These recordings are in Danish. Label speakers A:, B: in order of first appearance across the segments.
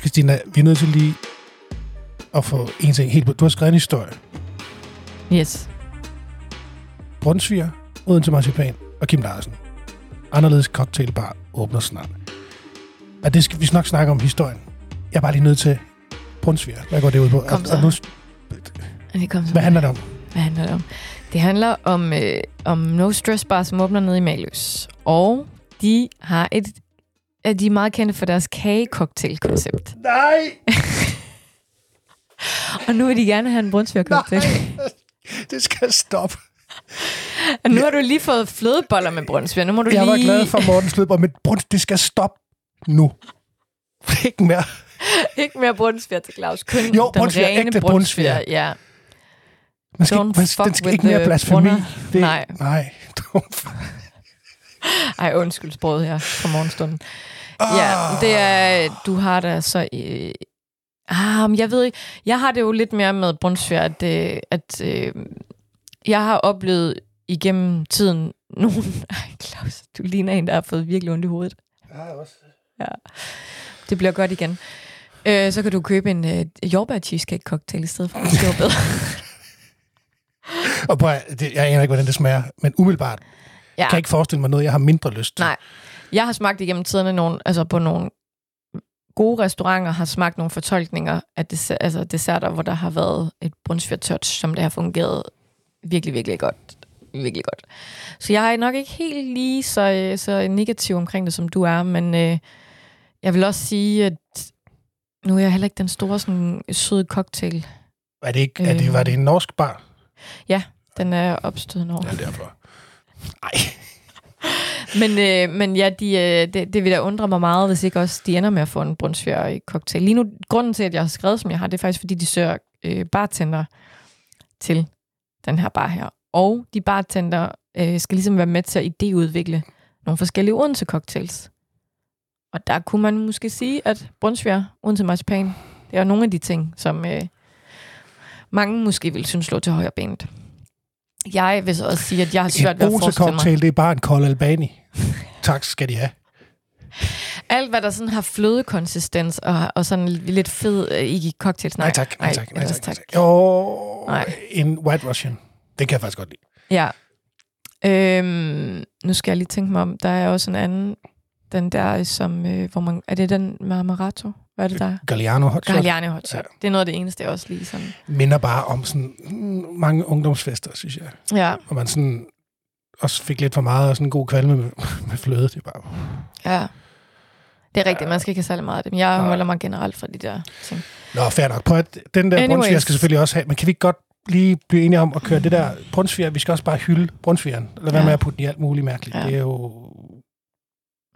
A: Christina, vi er nødt til lige at få en ting helt på. Du har skrevet en historie.
B: Yes.
A: Brunsviger, Odense Marcipan og Kim Larsen. Anderledes cocktailbar åbner snart. Og det skal vi nok snakke om historien. Jeg er bare lige nødt til Brunsviger. Hvad går det ud på?
B: Kom
A: Og-
B: så.
A: og nu,
B: Det kom så
A: hvad handler det om?
B: Hvad handler det om? Det handler om, øh, om No Stress Bar, som åbner nede i Maløs. Og de har et... øh, De er meget kendte for deres kagecocktail-koncept.
A: Nej!
B: Og nu vil de gerne have en brunsvigercocktail.
A: Det skal stoppe.
B: Og nu har du lige fået flødeboller med brunsviger. Nu må du
A: Jeg
B: lige...
A: var glad for Mortens Lødborg, men Bruns, det skal stoppe nu. Ikke mere.
B: Ikke mere brunsviger til Claus. Kun
A: Jo,
B: den
A: brunsviger,
B: rene
A: ægte
B: brunsviger.
A: brunsviger.
B: Ja.
A: Man skal,
B: Don't
A: ikke, man,
B: fuck
A: den skal
B: with
A: ikke mere
B: the
A: blasfemi.
B: brunner.
A: Det,
B: Nej.
A: Nej. Don't-
B: Ej, undskyld sproget her fra morgenstunden. Ja, det er, du har da så... Øh, ah, men jeg ved ikke, jeg har det jo lidt mere med Brunsfjær, at, øh, at øh, jeg har oplevet igennem tiden nogen... Ej, Claus, du ligner en, der har fået virkelig ondt i hovedet. Ja, også. Ja, det bliver godt igen. Øh, så kan du købe en øh, jordbær cheesecake cocktail i stedet for. Det var bedre.
A: Og prøv, at- det, jeg aner ikke, hvordan det smager, men umiddelbart ja.
B: Ja.
A: kan jeg ikke forestille mig noget, jeg har mindre lyst til.
B: Nej. Jeg har smagt igennem tiderne nogle, altså på nogle gode restauranter, har smagt nogle fortolkninger af dessert, altså desserter, hvor der har været et brunsviger touch, som det har fungeret virkelig, virkelig godt. Virkelig godt. Så jeg er nok ikke helt lige så, øh, så negativ omkring det, som du er, men øh, jeg vil også sige, at nu er jeg heller ikke den store sådan, søde cocktail.
A: Er det ikke, er det,
B: Øh.
A: var det en norsk bar?
B: Den er opstået over.
A: Ja, derfor. Nej.
B: Men, øh, men ja, de, øh, det, det vil da undre mig meget, hvis ikke også de ender med at få en brunsviger i cocktail. Lige nu, grunden til, at jeg har skrevet, som jeg har, det er faktisk, fordi de søger øh, bartender til den her bar her. Og de bartender øh, skal ligesom være med til at idéudvikle nogle forskellige Odense cocktails. Og der kunne man måske sige, at brunsviger, Odense marcipan, det er nogle af de ting, som øh, mange måske ville synes lå til højre benet. Jeg vil så også sige, at jeg har svært
A: En
B: ved at forestille mig...
A: Ose-cocktail, det er bare en kold albani. tak skal de have.
B: Alt, hvad der sådan har flødekonsistens og, og sådan lidt fed øh, i cocktails.
A: Nej, tak. Nej, tak. Nej,
B: ellers
A: tak. Nej, tak. Jo,
B: Nej.
A: en white russian. Den kan jeg faktisk godt lide.
B: Ja. Øhm, nu skal jeg lige tænke mig om, der er også en anden, den der, som, øh, hvor man, er det den med Amaretto? Hvad er det der? er?
A: Galliano hot shot
B: Galliani hot shot. Det er noget af det eneste, jeg også lige sådan.
A: minder bare om sådan mm, mange ungdomsfester, synes jeg.
B: Ja,
A: Hvor man sådan også fik lidt for meget og sådan en god kvalme med, med fløde. Det er bare...
B: ja. Det er rigtigt, man skal ikke have særlig meget af dem. Jeg holder mig generelt fra de der ting.
A: Nå, fair nok. Prøv at, den der
B: Anyways.
A: brunsviger skal selvfølgelig også have, men kan vi ikke godt lige blive enige om at køre det der brunsviger? Vi skal også bare hylde brunsvigeren. Lad være
B: Ja.
A: med at putte den i alt muligt mærkeligt.
B: Ja. Mm.
A: Ja. Det er jo...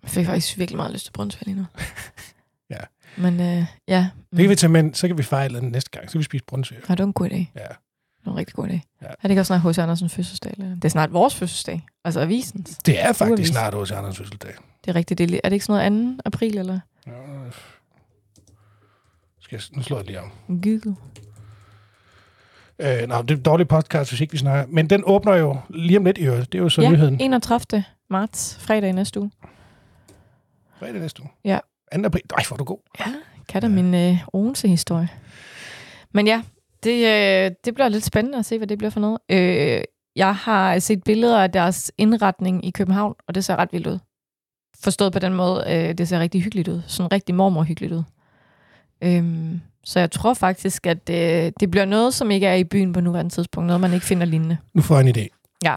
B: Jeg fik faktisk virkelig meget lyst til brunsvær lige nu.
A: Ja.
B: Men øh, ja,
A: Det kan vi tage med, ind, så kan vi fejle den næste gang. Så kan vi spise brunsviger.
B: har du en god idé?
A: Ja.
B: Det var en rigtig god idé.
A: Ja.
B: Ja. Er det ikke også snart H.C. Andersens fødselsdag? Eller? Det er snart vores fødselsdag. Altså avisens.
A: Det er faktisk
B: Uavis.
A: snart hos Anders fødselsdag.
B: Det er rigtigt. Det er, li- er det ikke sådan noget 2. april, eller?
A: Ja. øh. Skal jeg, nu slår jeg lige om.
B: Google.
A: Øh, nå, det er en dårlig podcast, hvis ikke vi snakker. Men den åbner jo lige om lidt i øvrigt. Det er jo så ja. nyheden.
B: Ja, 31. marts, fredag i næste uge.
A: Fredag næste uge.
B: Ja.
A: 2. april. Ej, hvor er du god.
B: Ja, kan da ja. min øh, Odense-historie. Men ja, det, øh, det bliver lidt spændende at se, hvad det bliver for noget. Øh, jeg har set billeder af deres indretning i København, og det ser ret vildt ud. Forstået på den måde, øh, det ser rigtig hyggeligt ud. Sådan rigtig mormor-hyggeligt ud. Øhm, så jeg tror faktisk, at øh, det bliver noget, som ikke er i byen på nuværende tidspunkt. Noget, man ikke finder lignende.
A: Nu får jeg en idé.
B: Ja.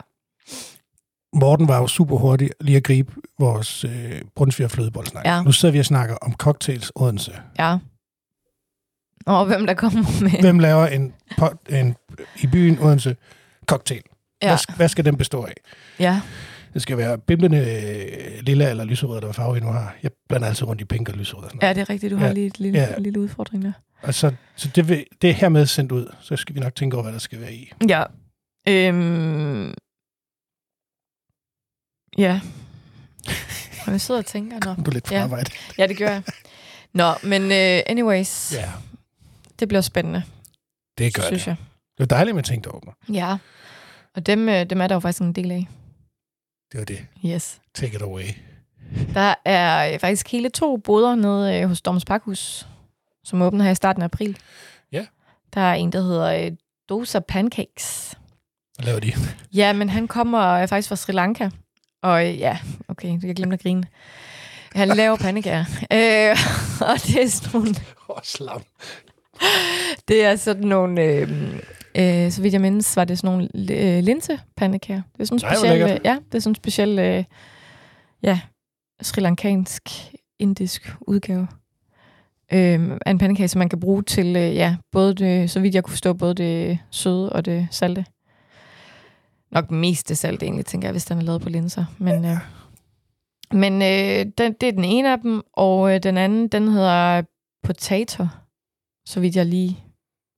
A: Morten var jo super hurtig lige at gribe vores øh, Brunsviger flødeboldsnak.
B: Ja.
A: Nu sidder vi og snakker om cocktails Odense.
B: Ja. Og hvem der kommer med.
A: Hvem laver en, pot, en i byen Odense cocktail?
B: Ja,
A: Hvad, sk- hvad skal den bestå af?
B: ja.
A: Det skal være bimlende øh, lilla eller lyserød, der var farve, jeg nu har. Jeg blander altid rundt i pink og lyserød. Og, sådan noget.
B: ja det er rigtigt. Du har
A: Ja.
B: lige et lille,
A: Ja.
B: lille udfordring der.
A: og så, så det, vil, det er hermed sendt ud. Så skal vi nok tænke over, hvad der skal være i.
B: Ja. Øhm. Ja. Og jeg sidder og tænker, nå.
A: Du er lidt for
B: Ja.
A: ja. arbejde.
B: Ja, det gør jeg. Nå, men uh, anyways, ja.
A: Ja,
B: det bliver spændende,
A: det gør
B: synes
A: det.
B: jeg.
A: Det var dejligt, at man tænkte over mig.
B: Ja. Og dem, øh, dem er der jo faktisk en del af.
A: Det var det.
B: Yes.
A: Take it away.
B: Der er øh, faktisk hele to boder nede øh, hos Doms Pakhus, som åbner her i starten af april.
A: Ja.
B: Der er en, der hedder øh, Dosa Pancakes.
A: Hvad laver de?
B: Ja, men han kommer øh, faktisk fra Sri Lanka. Og øh, ja, okay, du kan glemme at grine. Han laver pandekager. Øh, og det er sådan nogle
A: Åh, slam.
B: Det er sådan nogle... Øh, øh, så vidt jeg mindes, var det sådan nogle øh, linsepandekager. Det er sådan
A: Nej, hvor
B: speciel,
A: lækkert.
B: øh, ja, det er sådan en speciel øh, ja, sri lankansk indisk udgave øh, af en pandekage, som man kan bruge til, øh, ja, både det, så vidt jeg kunne forstå, både det søde og det salte. Nok mest det salte egentlig, tænker jeg, hvis den er lavet på linser. Men, øh, men øh, den, det er den ene af dem, og øh, den anden, den hedder Potato, så vidt jeg lige,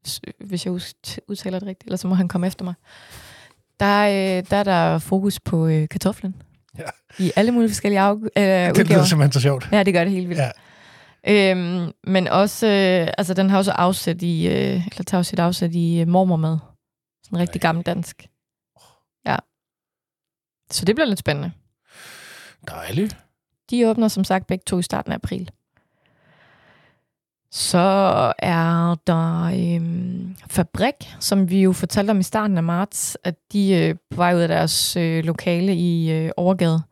B: s- hvis jeg us- udtaler det rigtigt, eller så må han komme efter mig. Der, er, øh, der er der fokus på øh, kartoflen.
A: Ja.
B: I alle mulige forskellige af, øh,
A: Det lyder
B: udgaver.
A: simpelthen så sjovt.
B: Ja, det gør det helt vildt.
A: Ja.
B: Øhm, men også, øh, altså den har også afsæt i, øh, eller tager jo sit afsæt i øh, mormormad. Sådan rigtig
A: Ej.
B: gammeldansk. Ja. Så det bliver lidt spændende.
A: Dejligt.
B: De åbner som sagt begge to i starten af april. Så er der øhm, Fabrik, som vi jo fortalte om i starten af marts, at de er øh, på vej ud af deres øh, lokale i øh, Overgade.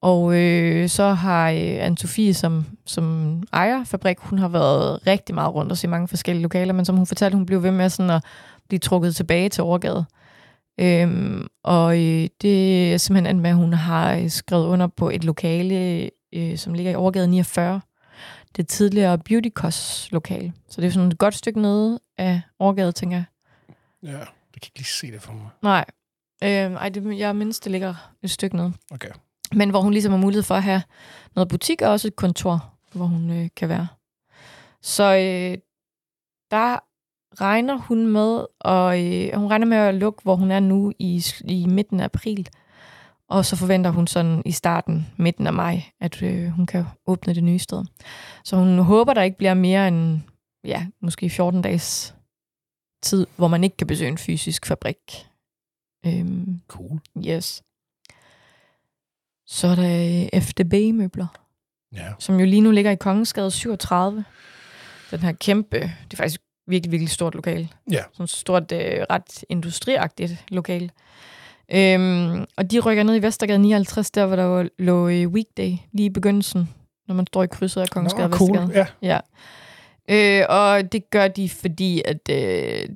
B: Og øh, så har øh, Anne-Sophie, som, som ejer Fabrik, hun har været rigtig meget rundt og se mange forskellige lokaler, men som hun fortalte, hun blev ved med sådan at blive trukket tilbage til Overgade. Øhm, og øh, det er simpelthen endt med, at hun har øh, skrevet under på et lokale, øh, som ligger i overgade 49. Det er tidligere Beauty Cos lokale. Så det er sådan et godt stykke nede af overgade, tænker jeg.
A: Ja. Jeg kan ikke lige se det for mig.
B: Nej, øhm, ej, det, jeg mindst, det ligger et stykke nede.
A: Okay.
B: Men hvor hun ligesom har mulighed for at have noget butik og også et kontor, hvor hun øh, kan være. Så øh, der regner hun med, og øh, hun regner med at lukke, hvor hun er nu i, sl- i midten af april. Og så forventer hun sådan i starten, midten af maj, at øh, hun kan åbne det nye sted. Så hun håber, der ikke bliver mere end, ja, måske 14 dages tid, hvor man ikke kan besøge en fysisk fabrik. Øhm,
A: Cool.
B: Yes. Så er der øh, FDB-møbler,
A: Ja.
B: som jo lige nu ligger i Kongensgade 37. Den her kæmpe, det er faktisk virkelig, virkelig stort lokal.
A: Ja.
B: Sådan et stort, øh, ret industriagtigt lokal. Øhm, og de rykker ned i Vestergade 59, der hvor der jo lå øh, weekday lige i begyndelsen, når man står i krydset af Kongensgade og
A: Nå, cool.
B: Vestergade.
A: Ja.
B: Ja. Øh, og det gør de, fordi at, øh,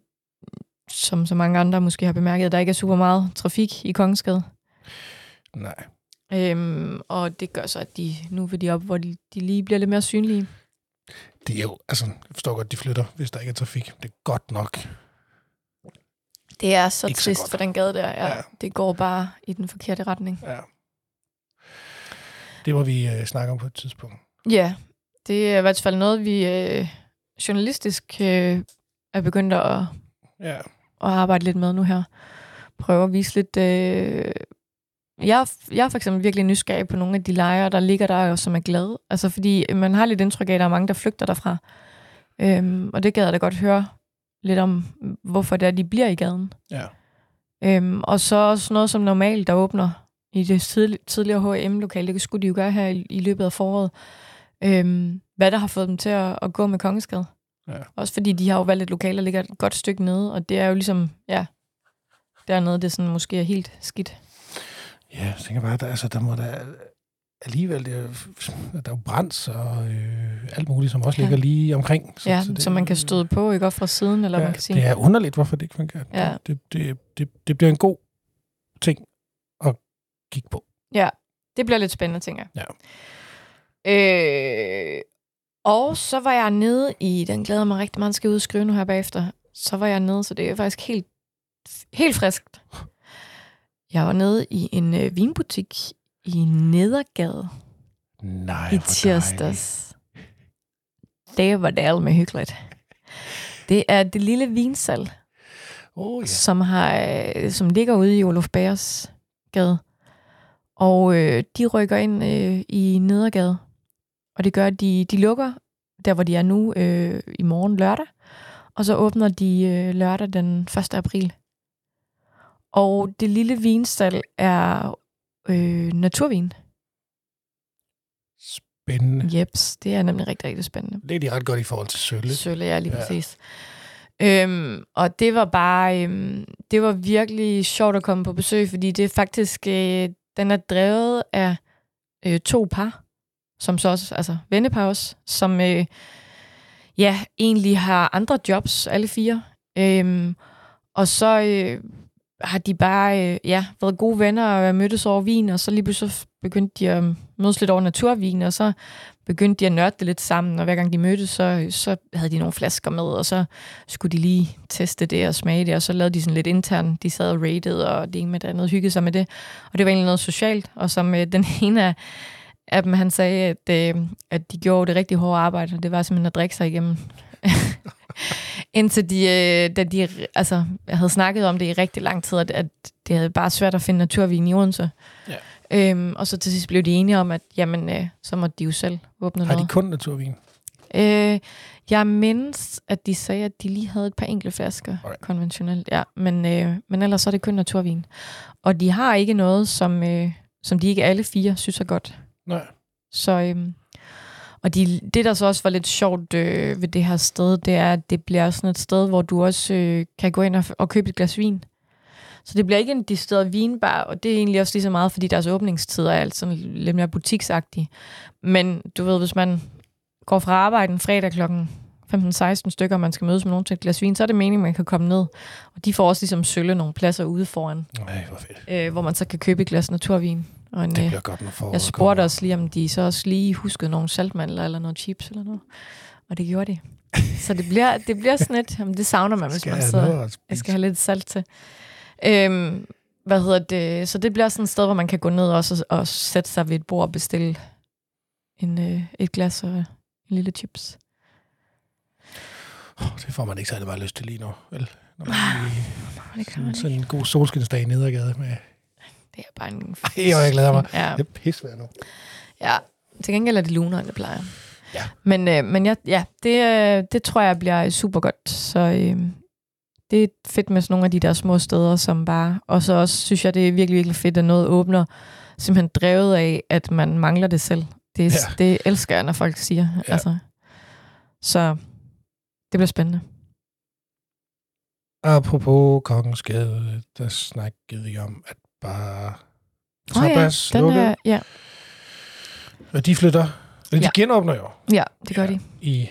B: som så mange andre måske har bemærket, der ikke er super meget trafik i Kongensgade.
A: Nej.
B: Øhm, og det gør så, at de nu vil de op, hvor de, de lige bliver lidt mere synlige.
A: Det er jo, altså, jeg forstår godt, de flytter, hvis der ikke er trafik. Det er godt nok.
B: Det er så
A: Ikke så
B: trist
A: godt.
B: for den gade der. Ja.
A: Ja.
B: ja. Det går bare i den forkerte retning.
A: Ja. Det må vi øh, snakke om på et tidspunkt.
B: Ja, det er i hvert fald noget, vi øh, journalistisk øh, er begyndt at,
A: Ja.
B: at arbejde lidt med nu her. Prøve at vise lidt... Øh... Jeg, er f- jeg er for eksempel virkelig nysgerrig på nogle af de lejre, der ligger der, og som er glade. Altså, fordi man har lidt indtryk af, at der er mange, der flygter derfra. Øhm, og det gad jeg da godt høre lidt om, hvorfor det er, de bliver i gaden.
A: Ja.
B: Øhm, og så også noget som normalt, der åbner i det tidli- tidligere H&M-lokale. Det skulle de jo gøre her i, i løbet af foråret. Øhm, hvad der har fået dem til at, at gå med Kongeskade.
A: Ja.
B: Også fordi de har jo valgt et lokale, der ligger et godt stykke nede, og det er jo ligesom, ja, dernede, det sådan måske er helt skidt.
A: Ja, jeg tænker bare, der, altså, der må der alligevel, det er, der er jo brands og øh, alt muligt, som også
B: Ja.
A: ligger lige omkring.
B: Så, ja, så, det, så man kan støde på, ikke? Og fra siden, eller ja, man kan sige...
A: Det er underligt, hvorfor det ikke fungerer.
B: Ja.
A: Det, det, det, det bliver en god ting at kigge på.
B: Det bliver lidt spændende, tænker jeg.
A: Ja.
B: Øh, og så var jeg nede i, den glæder jeg mig rigtig meget, den skal jeg ud og skrive nu her bagefter. Så var jeg nede, så det er faktisk helt, helt friskt. Jeg var nede i en øh, vinbutik i Nedergade
A: Nej,
B: i
A: hvor dejligt.
B: tirsdags. Det var det med hyggeligt. Det er det lille vinsal,
A: Åh, oh, ja.
B: som, har, øh, som ligger ude i Olof Bæres gade. Og øh, de rykker ind øh, i Nedergade. Og det gør, at de, de lukker der, hvor de er nu øh, i morgen lørdag. Og så åbner de øh, lørdag den 1. april. Og det lille vinstal er øh, naturvin.
A: spændende.
B: Jeps, det er nemlig rigtig, rigtig spændende.
A: Det er de ret godt i forhold til sølle.
B: Sølle, ja, lige
A: Ja.
B: ja. præcis. Øhm, og det var bare, øhm, det var virkelig sjovt at komme på besøg, fordi det er faktisk, øh, den er drevet af øh, to par, som så også, altså vennepar også, som øh, ja, egentlig har andre jobs, alle fire. Øhm, og så øh, har de bare øh, ja, været gode venner og mødtes over vin, og så lige pludselig så begyndte de at mødes lidt over naturvin, og så begyndte de at nørde det lidt sammen, og hver gang de mødtes, så, så havde de nogle flasker med, og så skulle de lige teste det og smage det, og så lavede de sådan lidt internt, de sad og rated, og det ene med det andet hyggede sig med det, og det var egentlig noget socialt, og som øh, den ene af, af dem, han sagde, at, øh, at de gjorde det rigtig hårde arbejde, og det var simpelthen at drikke sig igennem. Indtil de, øh, da de altså, havde snakket om det i rigtig lang tid, at, at det havde bare svært at finde naturvin i Odense.
A: Ja.
B: Øhm, og så til sidst blev de enige om, at jamen, øh, så måtte de jo selv åbne
A: Har
B: noget.
A: de kun naturvin?
B: Øh, jeg mindes, at de sagde, at de lige havde et par enkelte flasker
A: Alright.
B: right. konventionelt. Ja, men, øh, men ellers så er det kun naturvin. Og de har ikke noget, som, øh, som de ikke alle fire synes er godt.
A: Nej.
B: Så, øhm, og de, det, der så også var lidt sjovt øh, ved det her sted, det er, at det bliver sådan et sted, hvor du også øh, kan gå ind og, f- og købe et glas vin. Så det bliver ikke en distilleret vinbar, og det er egentlig også lige så meget, fordi deres åbningstider er alt sådan lidt mere butiksagtige. Men du ved, hvis man går fra arbejde en fredag klokken 15-16 stykker, og man skal mødes med nogen til et glas vin, så er det meningen, at man kan komme ned. Og de får også ligesom sølle nogle pladser ude foran,
A: Nej, hvor fedt.
B: øh, hvor man så kan købe et glas naturvin. Og en,
A: Det
B: øh,
A: bliver godt, når foråret
B: jeg spurgte
A: kommer.
B: også lige, om de så også lige huskede nogle saltmandler eller noget chips eller noget. Og det gjorde de. Så det bliver, det bliver sådan lidt, jamen det savner man, hvis
A: Skal
B: man
A: jeg
B: sidder.
A: noget at
B: Jeg
A: spise?
B: skal have lidt salt til. Øhm, hvad hedder det? Så det bliver sådan et sted, hvor man kan gå ned også og, og sætte sig ved et bord og bestille en, øh, et glas og en lille chips.
A: Åh, Det får man ikke særlig meget lyst til lige nu, vel? Når man lige,
B: Nå, Ah, det kan man
A: sådan,
B: ikke.
A: sådan en god solskinsdag i Nedergade med...
B: Det er bare en...
A: Ej, hvor jeg glæder mig.
B: Ja,
A: Det er pissvejr nu.
B: ja. Til gengæld er det lunere, end det plejer.
A: Ja.
B: Men, øh, men jeg, ja, det, øh, det tror jeg bliver super godt. Så øh, det er fedt med sådan nogle af de der små steder, som bare... Og så også synes jeg, det er virkelig, virkelig fedt, at noget åbner simpelthen drevet af, at man mangler det selv. Det, ja.
A: Ja.
B: det elsker jeg, når folk siger.
A: Ja.
B: Ja. Altså. Så det bliver spændende.
A: Apropos Kongens Gade, der snakkede vi om, at bare...
B: Åh ja,
A: Tapas
B: den
A: lukkede,
B: er, ja,
A: og de flytter. Eller de
B: Ja.
A: genåbner jo
B: ja, det gør
A: Ja.
B: ja. de.
A: i...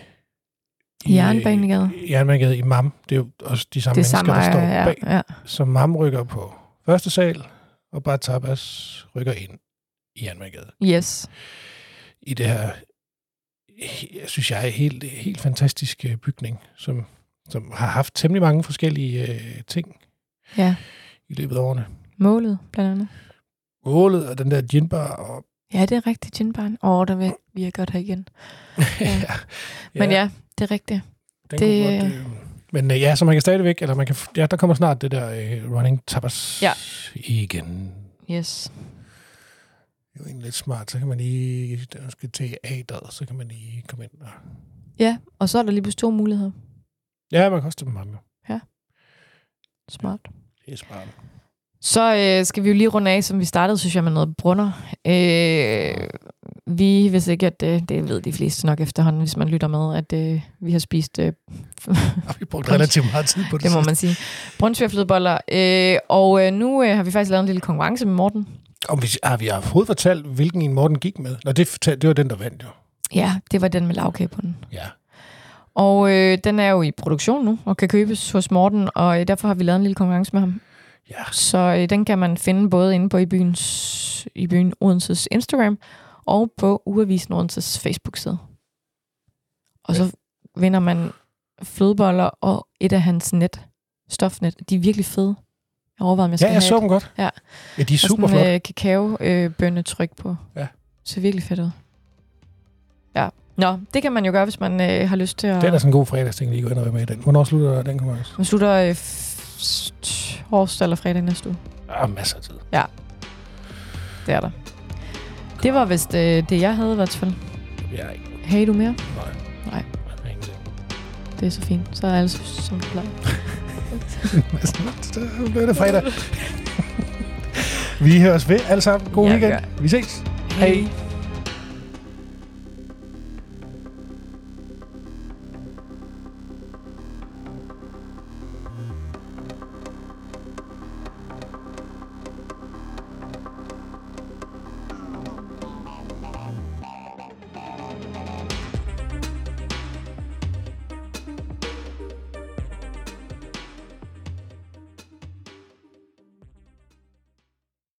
B: Jernbanegade.
A: I Jernbanegade i MAM. Det er jo også de samme
B: Det
A: mennesker,
B: er samme
A: der står
B: ejer, ja,
A: bag.
B: ja.
A: Så MAM rykker på første sal, og bare Tapas rykker ind i Jernbanegade.
B: Yes.
A: i det her, he- jeg synes jeg, er helt, helt fantastiske bygning, som, som har haft temmelig mange forskellige øh, ting
B: Ja,
A: i løbet af årene.
B: målet blandt andet.
A: Ålet og den der ginbar. Og,
B: Ja, det er rigtigt, ginbaren. Åh, oh, der vil vi er godt her igen. Ja. Men ja, det er rigtigt.
A: den
B: det-
A: kunne godt, øh, men øh, ja, så man kan stadigvæk, eller man kan, f- ja, der kommer snart det der øh, running tapas
B: Ja.
A: igen.
B: Yes.
A: Det er jo egentlig lidt smart, så kan man lige, der skal til A-dad, så kan man lige komme ind. Og,
B: Ja, og så er der lige pludselig to muligheder.
A: ja, man kan også stemme ham jo.
B: Smart.
A: Det er smart.
B: Så øh, skal vi jo lige runde af, som vi startede, synes jeg, med noget brunner. Øh, vi, hvis ikke, at øh, det ved de fleste nok efterhånden, hvis man lytter med, at øh, vi har spist, øh,
A: Og vi brugte relativt meget tid på det.
B: det må
A: sidste.
B: man sige, brunsværflødeboller. Øh, og øh, nu øh, har vi faktisk lavet en lille konkurrence med Morten.
A: Om vi, har vi overhovedet fortalt, hvilken en Morten gik med? Nå, det, fortalte, det var den, der vandt jo.
B: Ja, det var den med lavkage på den.
A: Ja.
B: Og øh, den er jo i produktion nu, og kan købes hos Morten, og øh, derfor har vi lavet en lille konkurrence med ham.
A: Ja.
B: Så øh, den kan man finde både inde på i, byens, i byen Odenses Instagram og på Ugeavisen Odenses Facebook-side. Og så vinder man flødeboller og et af hans net, stofnet. De er virkelig fede. Jeg overvejede, om jeg skal
A: Ja, jeg
B: have
A: så
B: et.
A: dem godt.
B: Ja.
A: ja de er
B: Og
A: super
B: sådan,
A: flotte.
B: øh, kakao øh, bønnetryk på.
A: Ja.
B: Så virkelig fedt ud. Ja. Nå, det kan man jo gøre, hvis man øh, har lyst til at...
A: Det er da sådan en god fredagsting, lige gå ind og være med i den. Hvornår slutter den konkurrence?
B: Man slutter øh, f- torsdag eller fredag næste uge.
A: Ah, masser af tid.
B: Det er der. Det var vist øh, det, jeg havde i hvert fald.
A: Jeg er ikke
B: Hey, du mere?
A: Nej.
B: Nej.
A: Jeg er ingenting.
B: Det er så fint. Så er alle som det plejer.
A: Men sådan, Så blev det fredag. Vi høres ved alle sammen. God
B: Ja,
A: weekend.
B: gør.
A: Vi ses. Hej.